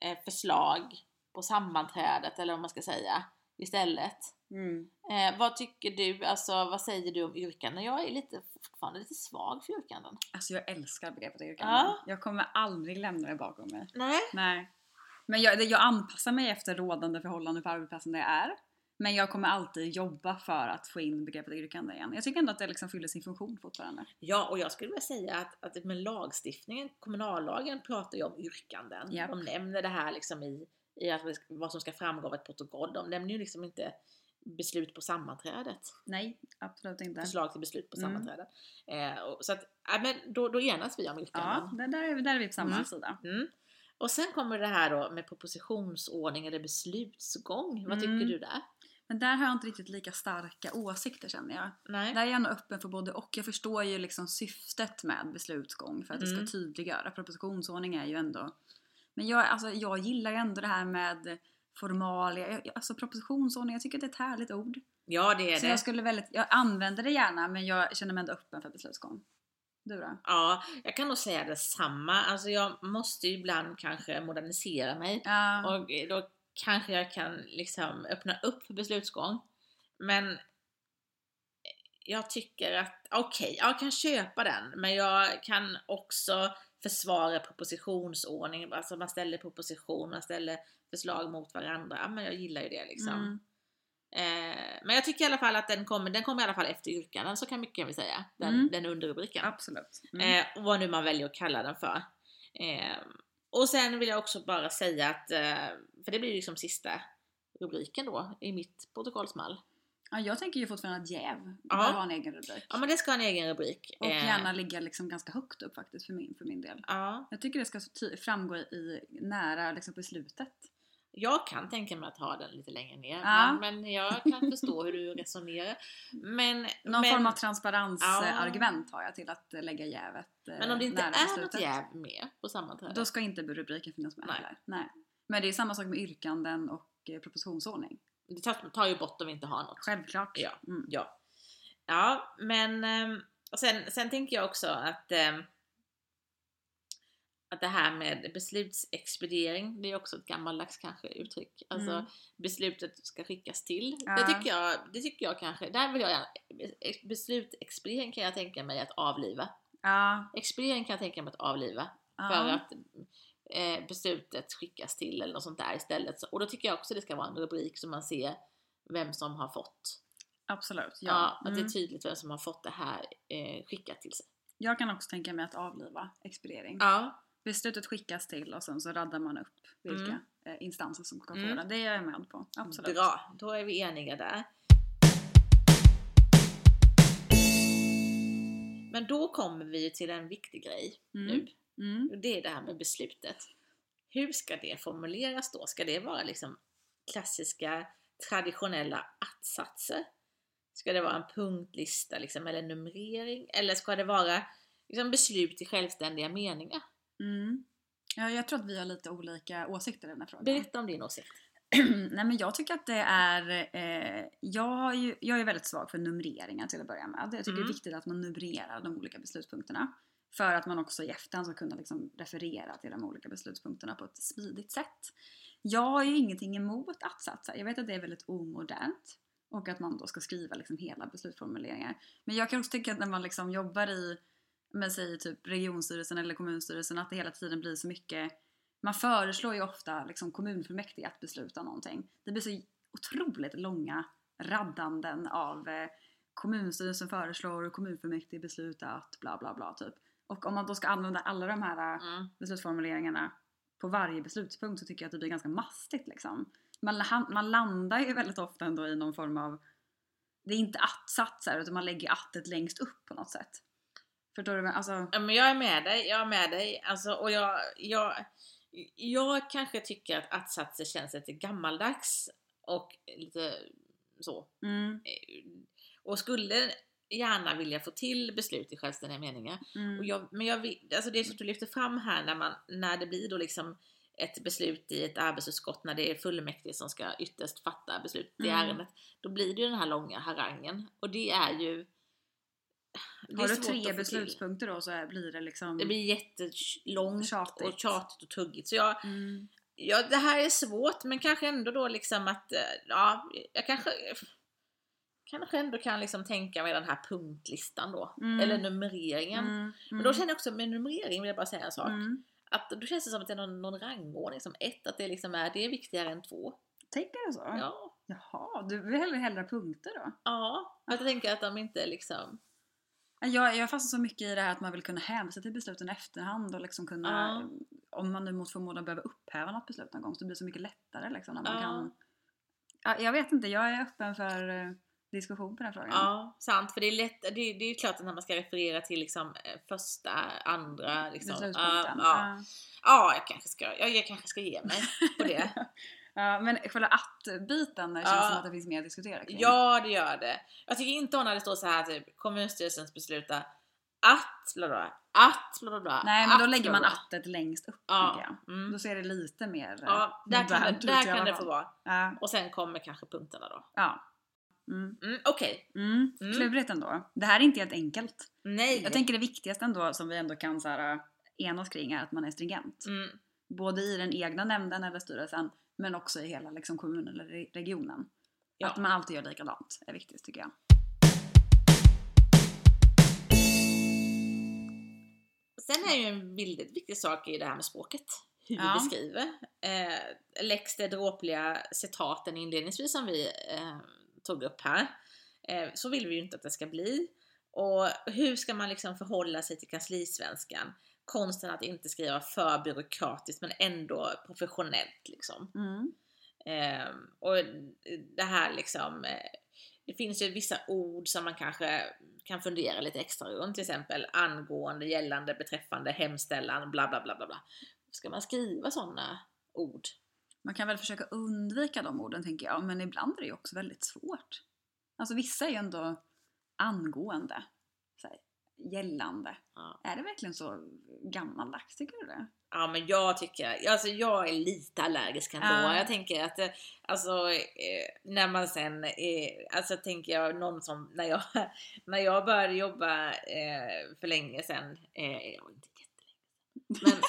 Speaker 1: eh, förslag på sammanträdet eller vad man ska säga istället.
Speaker 3: Mm.
Speaker 1: Eh, vad tycker du, alltså vad säger du om yrkanden? Jag är lite, fortfarande lite svag för yrkanden.
Speaker 3: Alltså jag älskar begreppet yrkan.
Speaker 1: Ja.
Speaker 3: Jag kommer aldrig lämna det bakom mig.
Speaker 1: Nej.
Speaker 3: Nej. Men jag, det- jag anpassar mig efter rådande förhållanden på arbetsplatsen där jag är. Men jag kommer alltid jobba för att få in begreppet yrkande igen. Jag tycker ändå att det liksom fyller sin funktion fortfarande.
Speaker 1: Ja, och jag skulle vilja säga att, att med lagstiftningen, kommunallagen pratar ju om yrkanden.
Speaker 3: Japp.
Speaker 1: De nämner det här liksom i, i att, vad som ska framgå av ett protokoll. De nämner ju liksom inte beslut på sammanträdet.
Speaker 3: Nej, absolut inte.
Speaker 1: Förslag till beslut på
Speaker 3: Mm.
Speaker 1: sammanträden. Eh, och, så att, ja, men då, då enas vi om
Speaker 3: Ja,
Speaker 1: yrkanden.
Speaker 3: där, där, är, vi- där är vi på samma
Speaker 1: Mm.
Speaker 3: sida.
Speaker 1: Mm. Och sen kommer det här då med propositionsordning eller beslutsgång. Vad tycker
Speaker 3: Mm.
Speaker 1: du där?
Speaker 3: Men där har jag inte riktigt lika starka åsikter känner jag.
Speaker 1: Nej.
Speaker 3: Där är jag nog öppen för både och. Jag förstår ju liksom syftet med beslutsgång för att det
Speaker 1: Mm.
Speaker 3: ska tydliggöra. Propositionsordning är ju ändå... Men jag, alltså, jag gillar ju ändå det här med formalia. Jag- jag- Alltså propositionsordning, jag tycker att det är ett härligt ord.
Speaker 1: Ja, det är
Speaker 3: Så
Speaker 1: det.
Speaker 3: jag skulle väldigt, jag använder det gärna men jag känner mig ändå öppen för beslutsgång. Du då?
Speaker 1: Ja, jag kan nog säga detsamma. Alltså jag måste ju ibland kanske modernisera mig
Speaker 3: Ja,
Speaker 1: och då kanske jag kan liksom öppna upp för beslutsgång. Men jag tycker att, okej, jag kan köpa den, men jag kan också försvara propositionsordning, alltså man ställer proposition, man ställer förslag mot varandra, men jag gillar ju det liksom.
Speaker 4: Mm.
Speaker 1: Eh, men jag tycker i alla fall att den kommer, den kommer i alla fall efter yrkanden, så kan mycket kan vi säga, den,
Speaker 3: Mm.
Speaker 1: den underrubriken.
Speaker 3: Absolut. Mm.
Speaker 1: Eh, och vad nu man väljer att kalla den för. Eh, och sen vill jag också bara säga att, eh, för det blir ju liksom sista rubriken då i mitt protokollsmall.
Speaker 3: Ja, jag tänker ju fortfarande att jäv
Speaker 1: Ja.
Speaker 3: bör ha en egen rubrik.
Speaker 1: Ja men det ska ha en egen rubrik.
Speaker 3: Och
Speaker 1: Eh,
Speaker 3: gärna ligga liksom ganska högt upp faktiskt för min, för min del.
Speaker 1: Ja,
Speaker 3: Jag tycker det ska så ty- framgå i nära liksom beslutet.
Speaker 1: jag kan tänka mig att ha den lite längre ner.
Speaker 3: Ja.
Speaker 1: Men, men jag kan förstå hur du resonerar. Men,
Speaker 3: Någon
Speaker 1: men,
Speaker 3: form av transparensargument
Speaker 1: Ja.
Speaker 3: argument har jag till att eh, lägga jävet eh,
Speaker 1: men om det inte
Speaker 3: nära
Speaker 1: är något
Speaker 3: beslutet.
Speaker 1: jäv med på sammanträdet.
Speaker 3: Då ska inte rubriken finnas med
Speaker 1: Nej.
Speaker 3: heller. Nej. Men det är samma sak med yrkanden och eh, propositionsordning.
Speaker 1: Det tar, tar ju bort om vi inte har något.
Speaker 3: Självklart.
Speaker 1: Ja.
Speaker 3: Mm.
Speaker 1: Ja. Ja, men ehm, och sen, sen tänker jag också att ehm, att det här med beslutsexpediering, det är också ett gammaldags kanske uttryck. Alltså
Speaker 3: Mm.
Speaker 1: beslutet ska skickas till.
Speaker 3: Ja.
Speaker 1: Det, tycker jag, det tycker jag kanske, där vill jag gärna, ex- beslutsexpediering kan jag tänka mig att avliva.
Speaker 3: Ja.
Speaker 1: Expediering kan jag tänka mig att avliva.
Speaker 3: ja.
Speaker 1: För att eh, beslutet skickas till eller något sånt där istället. Så- Och då tycker jag också det ska vara en rubrik så man ser vem som har fått.
Speaker 3: Absolut.
Speaker 1: Ja,
Speaker 3: Ja.
Speaker 1: att det är
Speaker 3: Mm.
Speaker 1: tydligt vem som har fått det här eh, skickat till sig.
Speaker 3: Jag kan också tänka mig att avliva expediering.
Speaker 1: Ja.
Speaker 3: Beslutet skickas till och sen så raddar man upp vilka
Speaker 1: Mm.
Speaker 3: eh, instanser som ska få
Speaker 1: Mm.
Speaker 3: den. Det är jag med på. Absolut.
Speaker 1: Bra, då är vi eniga där. Men då kommer vi ju till en viktig grej
Speaker 3: Mm. Mm.
Speaker 1: och det är det här med beslutet. Hur ska det formuleras då? Ska det vara liksom klassiska traditionella attsatser? Ska det vara en punktlista liksom, eller numrering? Eller ska det vara liksom, beslut i självständiga meningar?
Speaker 3: Mm. Ja, jag tror att vi har lite olika åsikter i den här frågan.
Speaker 1: Berätta om din åsikt.
Speaker 3: Nej men jag tycker att det är, eh, jag, har ju, jag är väldigt svag för numreringar till att börja med. Jag tycker det
Speaker 1: Mm.
Speaker 3: är viktigt att man numrerar de olika beslutspunkterna. För att man också i efterhand ska kunna liksom referera till de olika beslutspunkterna på ett smidigt sätt. Jag har ju ingenting emot att-satser. Jag vet att det är väldigt omodernt. Och att man då ska skriva liksom hela beslutsformuleringar. Men jag kan också tycka att när man liksom jobbar i, men säg typ regionstyrelsen eller kommunstyrelsen, att det hela tiden blir så mycket man föreslår ju ofta liksom kommunfullmäktige att besluta någonting. Det blir så otroligt långa raddanden av eh, kommunstyrelsen föreslår och kommunfullmäktige beslutar att bla bla bla typ. Och om man då ska använda alla de här eh,
Speaker 1: Mm.
Speaker 3: beslutsformuleringarna på varje beslutspunkt så tycker jag att det blir ganska mastigt liksom. Man, la- man landar ju väldigt ofta ändå i någon form av det är inte att-satser utan man lägger attet längst upp på något sätt. Förstår du? vad- Alltså,
Speaker 1: Ja, men jag är med dig, jag är med dig. Alltså, och jag, jag, jag kanske tycker att att-satser känns lite gammaldags och lite så.
Speaker 3: mm,
Speaker 1: eh, Och skulle gärna vilja få till beslut i självständiga meningar.
Speaker 3: mm,
Speaker 1: Och jag, men jag, vill- alltså det som du lyfter fram här när, man, när det blir då liksom ett beslut i ett arbetsutskott när det är fullmäktige som ska ytterst fatta beslut i
Speaker 3: Mm.
Speaker 1: ärendet. Då blir det ju den här långa harangen och det är ju... det är
Speaker 3: Har du
Speaker 1: svårt att få
Speaker 3: tre
Speaker 1: till.
Speaker 3: beslutspunkter då så är- blir det liksom...
Speaker 1: Det blir jättelångt
Speaker 3: Tjatigt.
Speaker 1: och tjatigt och tuggigt. Så jag,
Speaker 3: Mm.
Speaker 1: ja, det här är svårt men kanske ändå då liksom att, eh, ja, jag kanske kanske ändå kan liksom tänka mig den här punktlistan då.
Speaker 3: Mm.
Speaker 1: Eller numreringen.
Speaker 3: Mm,
Speaker 1: Men då
Speaker 3: mm,
Speaker 1: känner jag också, med numrering vill jag bara säga en sak.
Speaker 3: mm.
Speaker 1: Att då känns det som att det är någon, någon rangordning som ett, att det liksom är, det är viktigare än två.
Speaker 3: Tänker du så?
Speaker 1: Ja.
Speaker 3: Jaha, du vill hellre hellre punkter då?
Speaker 1: Ja. Att jag tänker att de inte liksom,
Speaker 3: Mm. Nej, Jag, jag fastnar så mycket i det här att man vill kunna hänvisa till besluten i efterhand och liksom kunna, om man nu mot förmodan behöver upphäva något beslut någon gång så blir det så mycket lättare liksom när man
Speaker 1: Ja.
Speaker 3: kan... Ja, jag vet inte, jag är öppen för eh, diskussion på den här frågan.
Speaker 1: ja, sant. För det är lätt, det, det är ju klart att när man ska referera till liksom eh, första, andra, liksom. ja,
Speaker 3: Mm. Beslutspunkten.
Speaker 1: ja.
Speaker 3: Ja.
Speaker 1: Ja, jag kanske ska, jag, jag kanske ska ge mig på det.
Speaker 3: Ja, men själva att-biten känns
Speaker 1: Ja.
Speaker 3: som att det finns mer att diskutera kring.
Speaker 1: Ja, det gör det. Jag tycker inte om när det står så här typ kommunstyrelsens beslutar att bla bla, att bla bla, bla.
Speaker 3: Nej, men då
Speaker 1: att,
Speaker 3: lägger
Speaker 1: bla,
Speaker 3: man
Speaker 1: bla.
Speaker 3: attet längst upp
Speaker 1: Ja.
Speaker 3: tycker jag.
Speaker 1: Mm.
Speaker 3: Då ser det lite mer eh,
Speaker 1: Ja, där kan,
Speaker 3: modernt
Speaker 1: det,
Speaker 3: ut
Speaker 1: där
Speaker 3: i alla
Speaker 1: kan det
Speaker 3: fall.
Speaker 1: få vara.
Speaker 3: Ja.
Speaker 1: Och sen kommer kanske punkterna då.
Speaker 3: ja. Mm.
Speaker 1: Mm, Okej,
Speaker 3: Mm.
Speaker 1: Mm.
Speaker 3: Klurigt ändå. Det här är inte helt enkelt.
Speaker 1: nej.
Speaker 3: Jag tänker det viktigaste ändå som vi ändå kan så här, enas kring är att man är stringent.
Speaker 1: mm,
Speaker 3: Både i den egna nämnden eller styrelsen men också i hela liksom, kommunen eller re- regionen.
Speaker 1: Ja.
Speaker 3: Att man alltid gör likadant är viktigt tycker jag.
Speaker 1: Sen är ju en väldigt viktig sak i det här med språket. Hur
Speaker 3: Ja.
Speaker 1: vi skriver. Eh, läx det dråpliga citaten inledningsvis som vi eh, tog upp här. Eh, så vill vi ju inte att det ska bli. Och hur ska man liksom förhålla sig till kanslisvenskan? Konsten att inte skriva för byråkratiskt men ändå professionellt liksom.
Speaker 3: Mm.
Speaker 1: Eh, och det här liksom, eh, det finns ju vissa ord som man kanske kan fundera lite extra runt, till exempel angående, gällande, beträffande, hemställan, bla bla bla bla. bla. Ska man skriva sådana ord?
Speaker 3: Man kan väl försöka undvika de orden tänker jag, men ibland är det ju också väldigt svårt. Alltså vissa är ju ändå angående, så här, gällande.
Speaker 1: Ja.
Speaker 3: Är det verkligen så gammaldags, tycker du det?
Speaker 1: Ja men jag tycker, alltså jag är lite allergisk ändå.
Speaker 3: Ja.
Speaker 1: Jag tänker att, eh, alltså eh, när man sen, eh, alltså tänker jag någon som, när jag, när jag började jobba eh, för länge sen, eh, jag var inte jättelänge men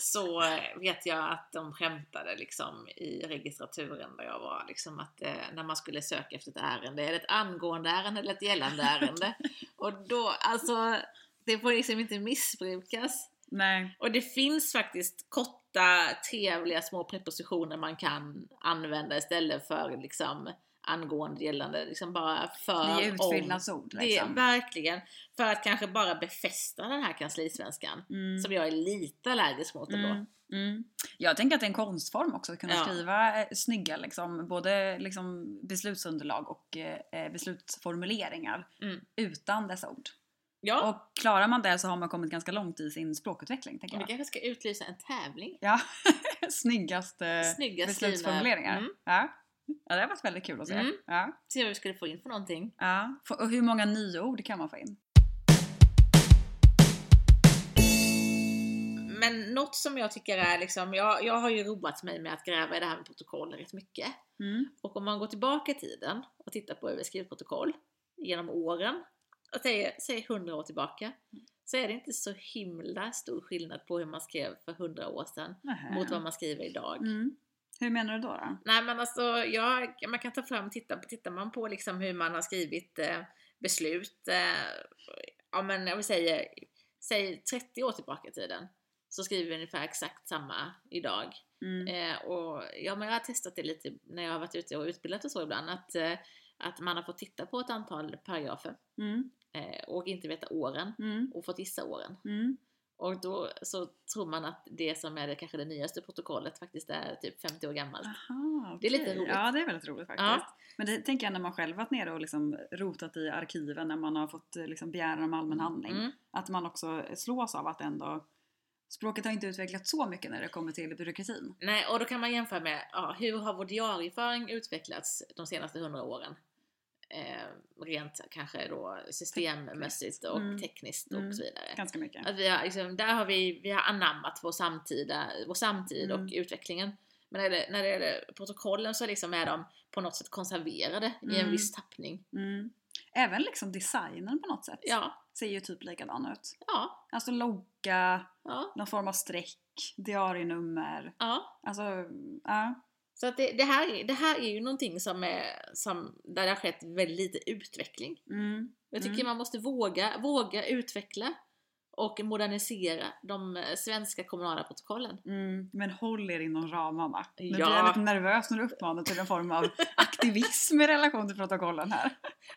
Speaker 1: så eh, vet jag att de skämtade liksom i registraturen där jag var liksom att eh, när man skulle söka efter ett ärende, är det ett angående ärende eller ett gällande ärende? Och då, alltså det får liksom inte missbrukas.
Speaker 3: Nej.
Speaker 1: Och det finns faktiskt korta, trevliga små prepositioner man kan använda istället för liksom angående, gällande, liksom bara för,
Speaker 3: Det är ju
Speaker 1: om.
Speaker 3: utfyllnadsord
Speaker 1: Det är
Speaker 3: liksom.
Speaker 1: verkligen för att kanske bara befästa den här kanslisvenskan
Speaker 3: Mm.
Speaker 1: som jag är lite allergisk mot ändå.
Speaker 3: Mm. Mm. Jag tänker att det är en konstform också att kunna
Speaker 1: Ja.
Speaker 3: skriva eh, snygga liksom, både liksom beslutsunderlag och eh, beslutsformuleringar
Speaker 1: Mm.
Speaker 3: utan dessa ord.
Speaker 1: Ja,
Speaker 3: Och klarar man det så har man kommit ganska långt i sin språkutveckling tänker
Speaker 1: vi
Speaker 3: jag.
Speaker 1: kanske ska utlysa en tävling.
Speaker 3: Ja. Snyggaste
Speaker 1: Snygga
Speaker 3: Eh, beslutsformuleringar.
Speaker 1: skrivna- mm.
Speaker 3: Ja. ja, det har varit väldigt kul att se.
Speaker 1: Mm.
Speaker 3: Ja.
Speaker 1: Se vad vi skulle få in för någonting.
Speaker 3: Ja. Få- Och hur många nyord kan man få in?
Speaker 1: Men något som jag tycker är liksom, jag, jag har ju roat mig med att gräva i det här med protokoll rätt mycket.
Speaker 3: Mm.
Speaker 1: Och om man går tillbaka i tiden och tittar på överskrivprotokoll genom åren, och säger, säg 100 år tillbaka, så är det inte så himla stor skillnad på hur man skrev för 100 år sedan
Speaker 3: Nähä.
Speaker 1: mot vad man skriver idag.
Speaker 3: mm. Hur menar du då? då?
Speaker 1: Nej men alltså, ja, man kan ta fram, titta, tittar man på liksom hur man har skrivit eh, beslut, eh, ja men om vi säger, säg 30 år tillbaka i tiden, så skriver vi ungefär exakt samma idag.
Speaker 3: Mm.
Speaker 1: Eh, och, ja, men jag har testat det lite när jag har varit ute och utbildat och så ibland. Att, eh, att man har fått titta på ett antal paragrafer
Speaker 3: Mm.
Speaker 1: eh, och inte veta åren
Speaker 3: Mm.
Speaker 1: och fått gissa åren.
Speaker 3: Mm.
Speaker 1: Och då så tror man att det som är det, kanske det nyaste protokollet faktiskt är typ 50 år gammalt.
Speaker 3: Aha,
Speaker 1: Det är lite
Speaker 3: okej.
Speaker 1: roligt.
Speaker 3: Ja, det är väldigt roligt Ah, faktiskt.
Speaker 1: Ja.
Speaker 3: Men det tänker jag när man själv varit nere och liksom rotat i arkiven när man har fått eh, liksom begäran om allmän handling.
Speaker 1: Mm.
Speaker 3: Att man också slås av att ändå språket har inte utvecklats så mycket när det kommer till byråkratin.
Speaker 1: Nej, och då kan man jämföra med ja, hur har vår diarieföring utvecklats de senaste 100 åren? Eh, rent kanske då systemmässigt och
Speaker 3: Mm.
Speaker 1: tekniskt
Speaker 3: Mm.
Speaker 1: och så vidare.
Speaker 3: Ganska mycket.
Speaker 1: Att vi har, liksom, där har vi, vi har anammat vår, samtida, vår samtid och
Speaker 3: Mm.
Speaker 1: utvecklingen. Men när det, när det gäller protokollen så liksom är de på något sätt konserverade i en
Speaker 3: Mm.
Speaker 1: viss tappning.
Speaker 3: Mm. Även liksom designen på något sätt
Speaker 1: Ja,
Speaker 3: ser ju typ likadan ut.
Speaker 1: ja,
Speaker 3: Alltså logga,
Speaker 1: ja,
Speaker 3: någon form av streck, diarienummer.
Speaker 1: ja.
Speaker 3: Alltså, ja.
Speaker 1: Så att det, det, här, är- det här är ju någonting som är, som, där det har skett väldigt lite utveckling.
Speaker 3: Mm.
Speaker 1: Jag tycker
Speaker 3: Mm.
Speaker 1: man måste våga, våga utveckla och modernisera de eh, svenska kommunala protokollen.
Speaker 3: Mm, men håll er inom ramarna. Nu
Speaker 1: Ja.
Speaker 3: blir jag lite nervös när du uppmanar till en form av aktivism i relation till protokollen här.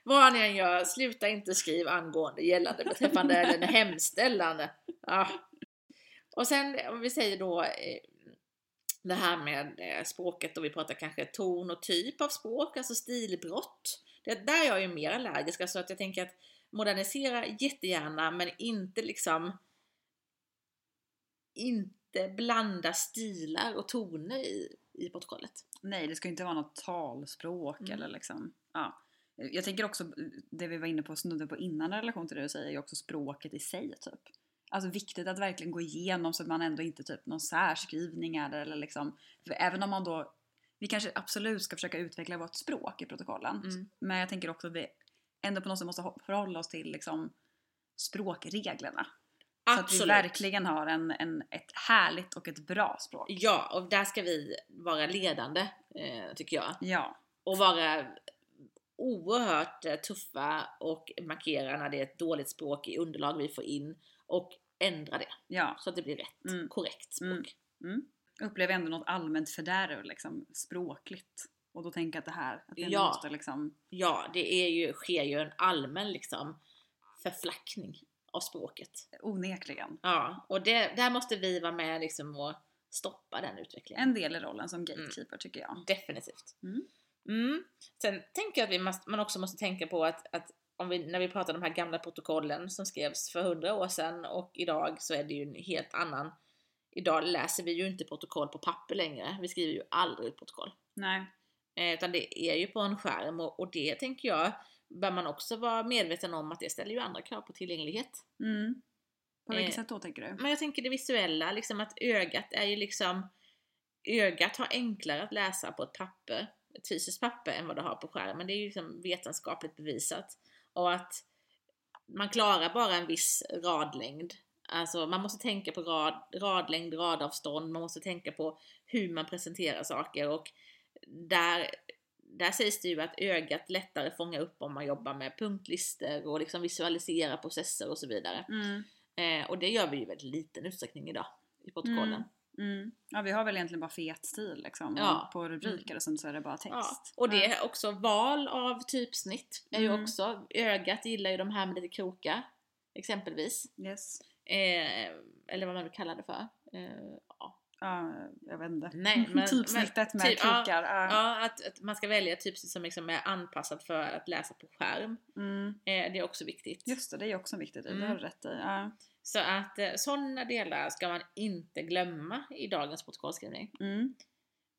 Speaker 1: Vad ni än gör, sluta inte skriva angående, gällande, beträffande eller hemställande. Ja. Och sen om vi säger då eh, det här med eh, språket och vi pratar kanske ton och typ av språk, alltså stilbrott. Det där är jag ju mer allergisk, alltså att jag tänker att modernisera jättegärna men inte liksom inte blanda stilar och toner i, i protokollet.
Speaker 3: Nej, det ska ju inte vara något talspråk
Speaker 1: Mm.
Speaker 3: eller liksom. Ja. Jag tänker också det vi var inne på snudden på innan i relation till det du säger, är ju också språket i sig typ. Alltså viktigt att verkligen gå igenom så att man ändå inte typ någon särskrivning är där eller liksom. För även om man då, vi kanske absolut ska försöka utveckla vårt språk i protokollen.
Speaker 1: Mm.
Speaker 3: Men jag tänker också att vi ändå på något sätt måste ho- förhålla oss till liksom språkreglerna. Så att vi verkligen har en, en, ett härligt och ett bra språk.
Speaker 1: Ja, och där ska vi vara ledande, eh, tycker jag.
Speaker 3: Ja.
Speaker 1: Och vara oerhört eh, tuffa och markera när det är ett dåligt språk i underlag vi får in och ändra det
Speaker 3: Ja,
Speaker 1: så att det blir rätt,
Speaker 3: Mm.
Speaker 1: korrekt språk.
Speaker 3: Mm. upplever ändå något allmänt fördärv liksom språkligt. Och då tänker jag att det här, att det ändå
Speaker 1: Ja.
Speaker 3: måste liksom,
Speaker 1: Ja, det är ju, sker ju en allmän liksom förflackning av språket.
Speaker 3: onekligen.
Speaker 1: Ja, och det, där måste vi vara med liksom och stoppa den utvecklingen.
Speaker 3: En del i rollen
Speaker 1: Mm.
Speaker 3: som gatekeeper tycker jag.
Speaker 1: Definitivt.
Speaker 3: Mm.
Speaker 1: Mm. Sen tänker jag att vi måste, man också måste tänka på att, att om vi, när vi pratar om de här gamla protokollen som skrevs för hundra år sedan och idag så är det ju en helt annan... Idag läser vi ju inte protokoll på papper längre. Vi skriver ju aldrig ett protokoll.
Speaker 3: Nej.
Speaker 1: Eh, utan det är ju på en skärm och, och det tänker jag bör man också vara medveten om att det ställer ju andra krav på tillgänglighet.
Speaker 3: Mm. På vilket
Speaker 1: Eh,
Speaker 3: sätt då tänker du?
Speaker 1: Men jag tänker det visuella, liksom att ögat är ju liksom... Ögat har enklare att läsa på ett papper, ett fysiskt papper, än vad det har på skärmen. Det är ju liksom vetenskapligt bevisat. Och att man klarar bara en viss radlängd. Alltså man måste tänka på rad, radlängd, radavstånd, man måste tänka på hur man presenterar saker och där, där sägs det ju att ögat lättare fångar upp om man jobbar med punktlistor och liksom visualiserar processer och så vidare.
Speaker 3: Mm.
Speaker 1: Eh, och det gör vi ju i väldigt liten utsträckning idag i protokollen.
Speaker 3: Mm. Mm. Ja, vi har väl egentligen bara fet stil liksom.
Speaker 1: Ja. Mm.
Speaker 3: Och På rubriker och sånt så är det bara text.
Speaker 1: Ja. Och det
Speaker 3: Ja.
Speaker 1: är också val av typsnitt. Är
Speaker 3: Mm.
Speaker 1: ju också, ögat gillar ju de här med lite kroka exempelvis.
Speaker 3: Yes.
Speaker 1: Eh, eller vad man vill kalla det för. Eh, ja.
Speaker 3: Ja, jag vet inte.
Speaker 1: Nej, men-
Speaker 3: Typsnittet
Speaker 1: men-
Speaker 3: med
Speaker 1: typ, ja.
Speaker 3: krokar. Ja.
Speaker 1: Ja, att, att man ska välja ett typsnitt som liksom är anpassat för att läsa på skärm.
Speaker 3: Mm.
Speaker 1: Eh, det är också viktigt.
Speaker 3: Just det, det är också viktigt. Det har
Speaker 1: Mm.
Speaker 3: du rätt i. Ja.
Speaker 1: Så att eh, sådana delar ska man inte glömma i dagens protokollskrivning.
Speaker 3: Mm.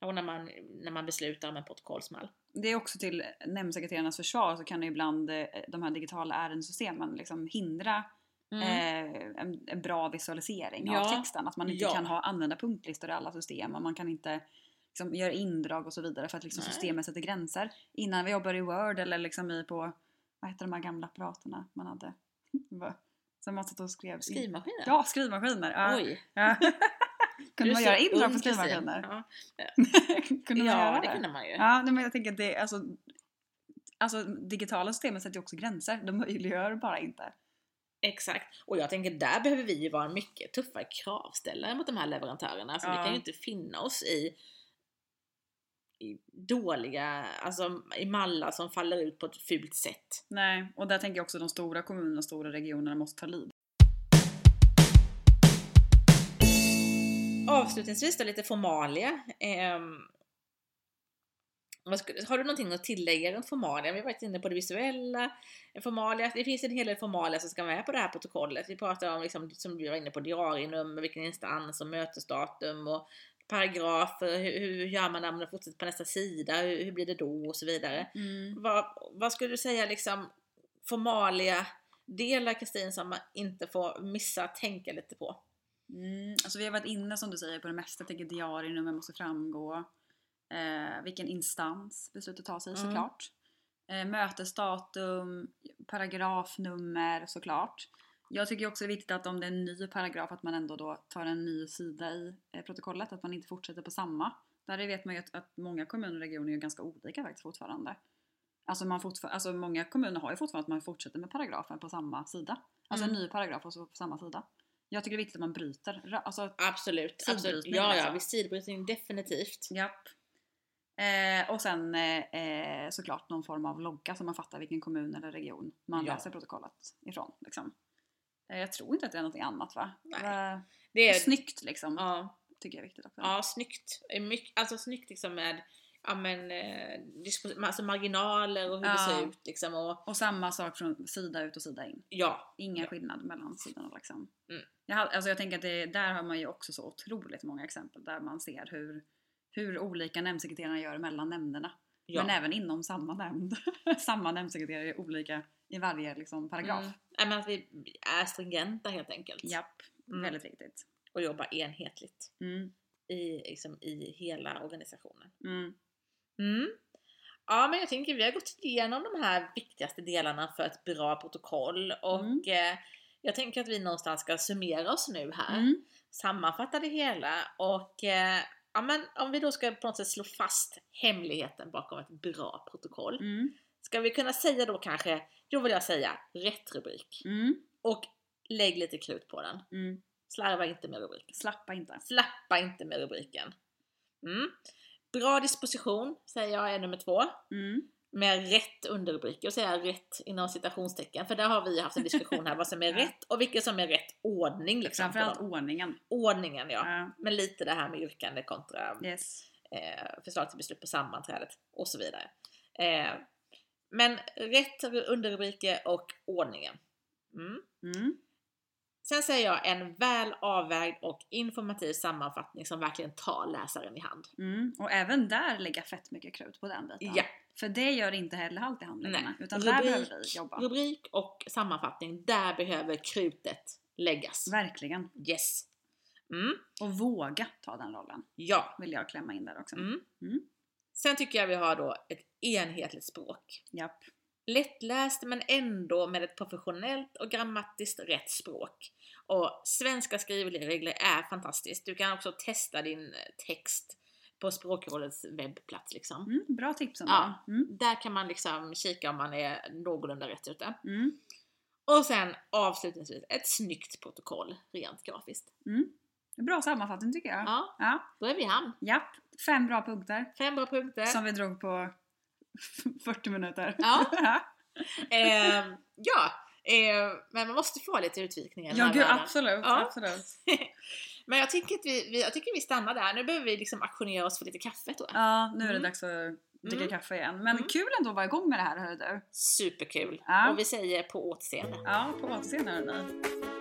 Speaker 1: Och när man, när man beslutar om en protokollsmall.
Speaker 3: Det är också till nämndsekreterarnas försvar så kan ju ibland eh, de här digitala ärendesystemen liksom hindra eh, en, en bra visualisering av
Speaker 1: Mm. Ja.
Speaker 3: texten. Att man inte
Speaker 1: Ja.
Speaker 3: kan ha använda punktlistor i alla system och man kan inte liksom, göra indrag och så vidare för att liksom,
Speaker 1: Nej.
Speaker 3: systemet sätter gränser. Innan vi jobbar i Word eller liksom i på, vad heter de här gamla apparaterna man hade? Va? Som man satt och skrev. in-
Speaker 1: Skrivmaskiner?
Speaker 3: Ja, skrivmaskiner! Ja.
Speaker 1: Oj!
Speaker 3: Ja.
Speaker 1: Du
Speaker 3: kunde
Speaker 1: är
Speaker 3: man
Speaker 1: så
Speaker 3: göra indrag
Speaker 1: ung,
Speaker 3: på
Speaker 1: Kristin.
Speaker 3: skrivmaskiner?
Speaker 1: Ja,
Speaker 3: kunde man
Speaker 1: ja
Speaker 3: göra
Speaker 1: det, kunde man ju.
Speaker 3: Ja, nej, men jag tänker att det alltså, alltså digitala systemet sätter ju också gränser. De möjliggör bara inte.
Speaker 1: Exakt. Och jag tänker där behöver vi ju vara en mycket tuffare kravställare mot de här leverantörerna. Alltså, Vi
Speaker 3: Ja.
Speaker 1: kan ju inte finna oss i, i dåliga, alltså i mallar som faller ut på ett fult sätt.
Speaker 3: Nej, och där tänker jag också de stora kommunerna och stora regionerna måste ta lid.
Speaker 1: Avslutningsvis då lite formalia. Ehm, vad skulle- har du någonting att tillägga runt formalia? Vi har varit inne på det visuella. Formalia, det finns en hel del formalia som ska med på det här protokollet. Vi pratar om, liksom, som vi var inne på, diarienummer, vilken instans och mötesdatum och paragrafer. Hur, hur gör man när man fortsätter på nästa sida? Hur, hur blir det då? Och så vidare.
Speaker 3: Mm.
Speaker 1: Vad, vad skulle du säga liksom formalia delar Kristin som man inte får missa att tänka lite på?
Speaker 3: Mm, alltså vi har varit inne som du säger på det mesta. Jag tänker diarienummer måste framgå. Eh, vilken instans beslutet tar sig
Speaker 1: Mm.
Speaker 3: såklart. Eh, mötesdatum, paragrafnummer såklart. Jag tycker också det är viktigt att om det är en ny paragraf att man ändå då tar en ny sida i eh, protokollet. Att man inte fortsätter på samma. Där vet man ju att, att många kommuner och regioner är ganska olika faktiskt fortfarande. Alltså, man fortfar- alltså många kommuner har ju fortfarande att man fortsätter med paragrafen på samma sida. Alltså en
Speaker 1: Mm.
Speaker 3: ny paragraf och så på samma sida. Jag tycker det är viktigt att man bryter. ra- Alltså,
Speaker 1: Absolut, absolut.
Speaker 3: Sidbrytning,
Speaker 1: Ja, ja,
Speaker 3: liksom.
Speaker 1: vid sidbrytning definitivt.
Speaker 3: japp. Eh, och sen eh, eh, såklart någon form av logga så man fattar vilken kommun eller region man
Speaker 1: Ja.
Speaker 3: läser protokollet ifrån. Liksom. Eh, jag tror inte att det är någonting annat va?
Speaker 1: Nej.
Speaker 3: Va-
Speaker 1: Det är,
Speaker 3: Snyggt liksom,
Speaker 1: ja,
Speaker 3: tycker jag är viktigt också.
Speaker 1: ja, snyggt. Myck- Alltså snyggt liksom med ja, men, eh, dispo- alltså marginaler och hur det
Speaker 3: Ja.
Speaker 1: ser ut liksom. Och,
Speaker 3: Och samma sak från sida ut och sida in.
Speaker 1: ja,
Speaker 3: Ingen
Speaker 1: Ja.
Speaker 3: skillnad mellan sidorna liksom.
Speaker 1: Mm.
Speaker 3: Jag, har- alltså jag tänker att det, där har man ju också så otroligt många exempel där man ser hur, hur olika nämndsekreterarna gör mellan nämnderna.
Speaker 1: ja.
Speaker 3: Men även inom samma nämnd. samma nämndsekreterare är olika i varje liksom, paragraf.
Speaker 1: Mm. Ja, men att vi är stringenta helt enkelt.
Speaker 3: Japp,
Speaker 1: Mm.
Speaker 3: väldigt viktigt.
Speaker 1: Och jobbar enhetligt
Speaker 3: Mm.
Speaker 1: i, liksom, i hela organisationen.
Speaker 3: Mm.
Speaker 1: Mm. Ja men jag tänker vi har gått igenom de här viktigaste delarna för ett bra protokoll och
Speaker 3: Mm.
Speaker 1: eh, jag tänker att vi någonstans ska summera oss nu här.
Speaker 3: Mm.
Speaker 1: sammanfatta det hela och eh, ja, men om vi då ska på något sätt slå fast hemligheten bakom ett bra protokoll
Speaker 3: Mm.
Speaker 1: Ska vi kunna säga då kanske, då vill jag säga rätt rubrik.
Speaker 3: Mm,
Speaker 1: Och lägg lite krut på den.
Speaker 3: mm.
Speaker 1: Slarva inte med rubriken.
Speaker 3: Slappa inte.
Speaker 1: Slappa inte med rubriken. Mm. Bra disposition säger jag är nummer två.
Speaker 3: Mm,
Speaker 1: Med rätt underrubriker, och säga rätt inom citationstecken. För där har vi haft en diskussion här vad som är
Speaker 3: Ja.
Speaker 1: rätt och vilken som är rätt ordning. Liksom, på
Speaker 3: framförallt
Speaker 1: dem.
Speaker 3: ordningen.
Speaker 1: ordningen ja.
Speaker 3: Ja,
Speaker 1: Men lite det här med yrkande kontra
Speaker 3: yes.
Speaker 1: eh, förslag till beslut på sammanträdet och så vidare. Eh, men rätt underrubriker och ordningen. Mm.
Speaker 3: Mm,
Speaker 1: Sen säger jag en väl avvägd och informativ sammanfattning som verkligen tar läsaren i hand.
Speaker 3: mm. Och även där lägga fett mycket krut på den biten.
Speaker 1: Ja,
Speaker 3: För det gör inte heller halt i handlingarna. Utan där
Speaker 1: Rubrik-
Speaker 3: behöver vi jobba.
Speaker 1: rubrik och sammanfattning, där behöver krutet läggas.
Speaker 3: Verkligen.
Speaker 1: Yes. Mm.
Speaker 3: Och våga ta den rollen.
Speaker 1: Ja.
Speaker 3: Vill jag klämma in där också.
Speaker 1: Mm.
Speaker 3: Mm.
Speaker 1: Sen tycker jag vi har då ett enhetligt språk.
Speaker 3: Japp.
Speaker 1: Lättläst men ändå med ett professionellt och grammatiskt rätt språk. Och svenska skrivregler är fantastiskt. Du kan också testa din eh, text på Språkrådets webbplats liksom.
Speaker 3: Mm, bra tips ändå.
Speaker 1: Ja.
Speaker 3: Mm,
Speaker 1: Där kan man liksom kika om man är någorlunda rätt ute.
Speaker 3: mm,
Speaker 1: Och sen avslutningsvis ett snyggt protokoll rent grafiskt.
Speaker 3: mm. Bra sammanfattning tycker jag.
Speaker 1: Ja,
Speaker 3: Ja.
Speaker 1: då är vi i hamn.
Speaker 3: Japp. Fem bra punkter
Speaker 1: Fem bra punkter.
Speaker 3: som vi drog på 40 minuter.
Speaker 1: Ja. Ehm, ja, ehm, men man måste få lite utvikningar. i den
Speaker 3: ja
Speaker 1: här
Speaker 3: gud
Speaker 1: världen.
Speaker 3: absolut.
Speaker 1: Ja.
Speaker 3: absolut.
Speaker 1: Men jag tycker, att vi, vi, jag tycker vi stannar där. Nu behöver vi liksom aktionera oss för lite kaffe tror jag.
Speaker 3: Ja, nu är det
Speaker 1: Mm.
Speaker 3: dags att dricka
Speaker 1: Mm.
Speaker 3: kaffe igen. Men
Speaker 1: Mm.
Speaker 3: kul ändå att vara igång med det här hörru du.
Speaker 1: Superkul!
Speaker 3: Ja.
Speaker 1: Och vi säger på återseende.
Speaker 3: Ja, på återseende hörni.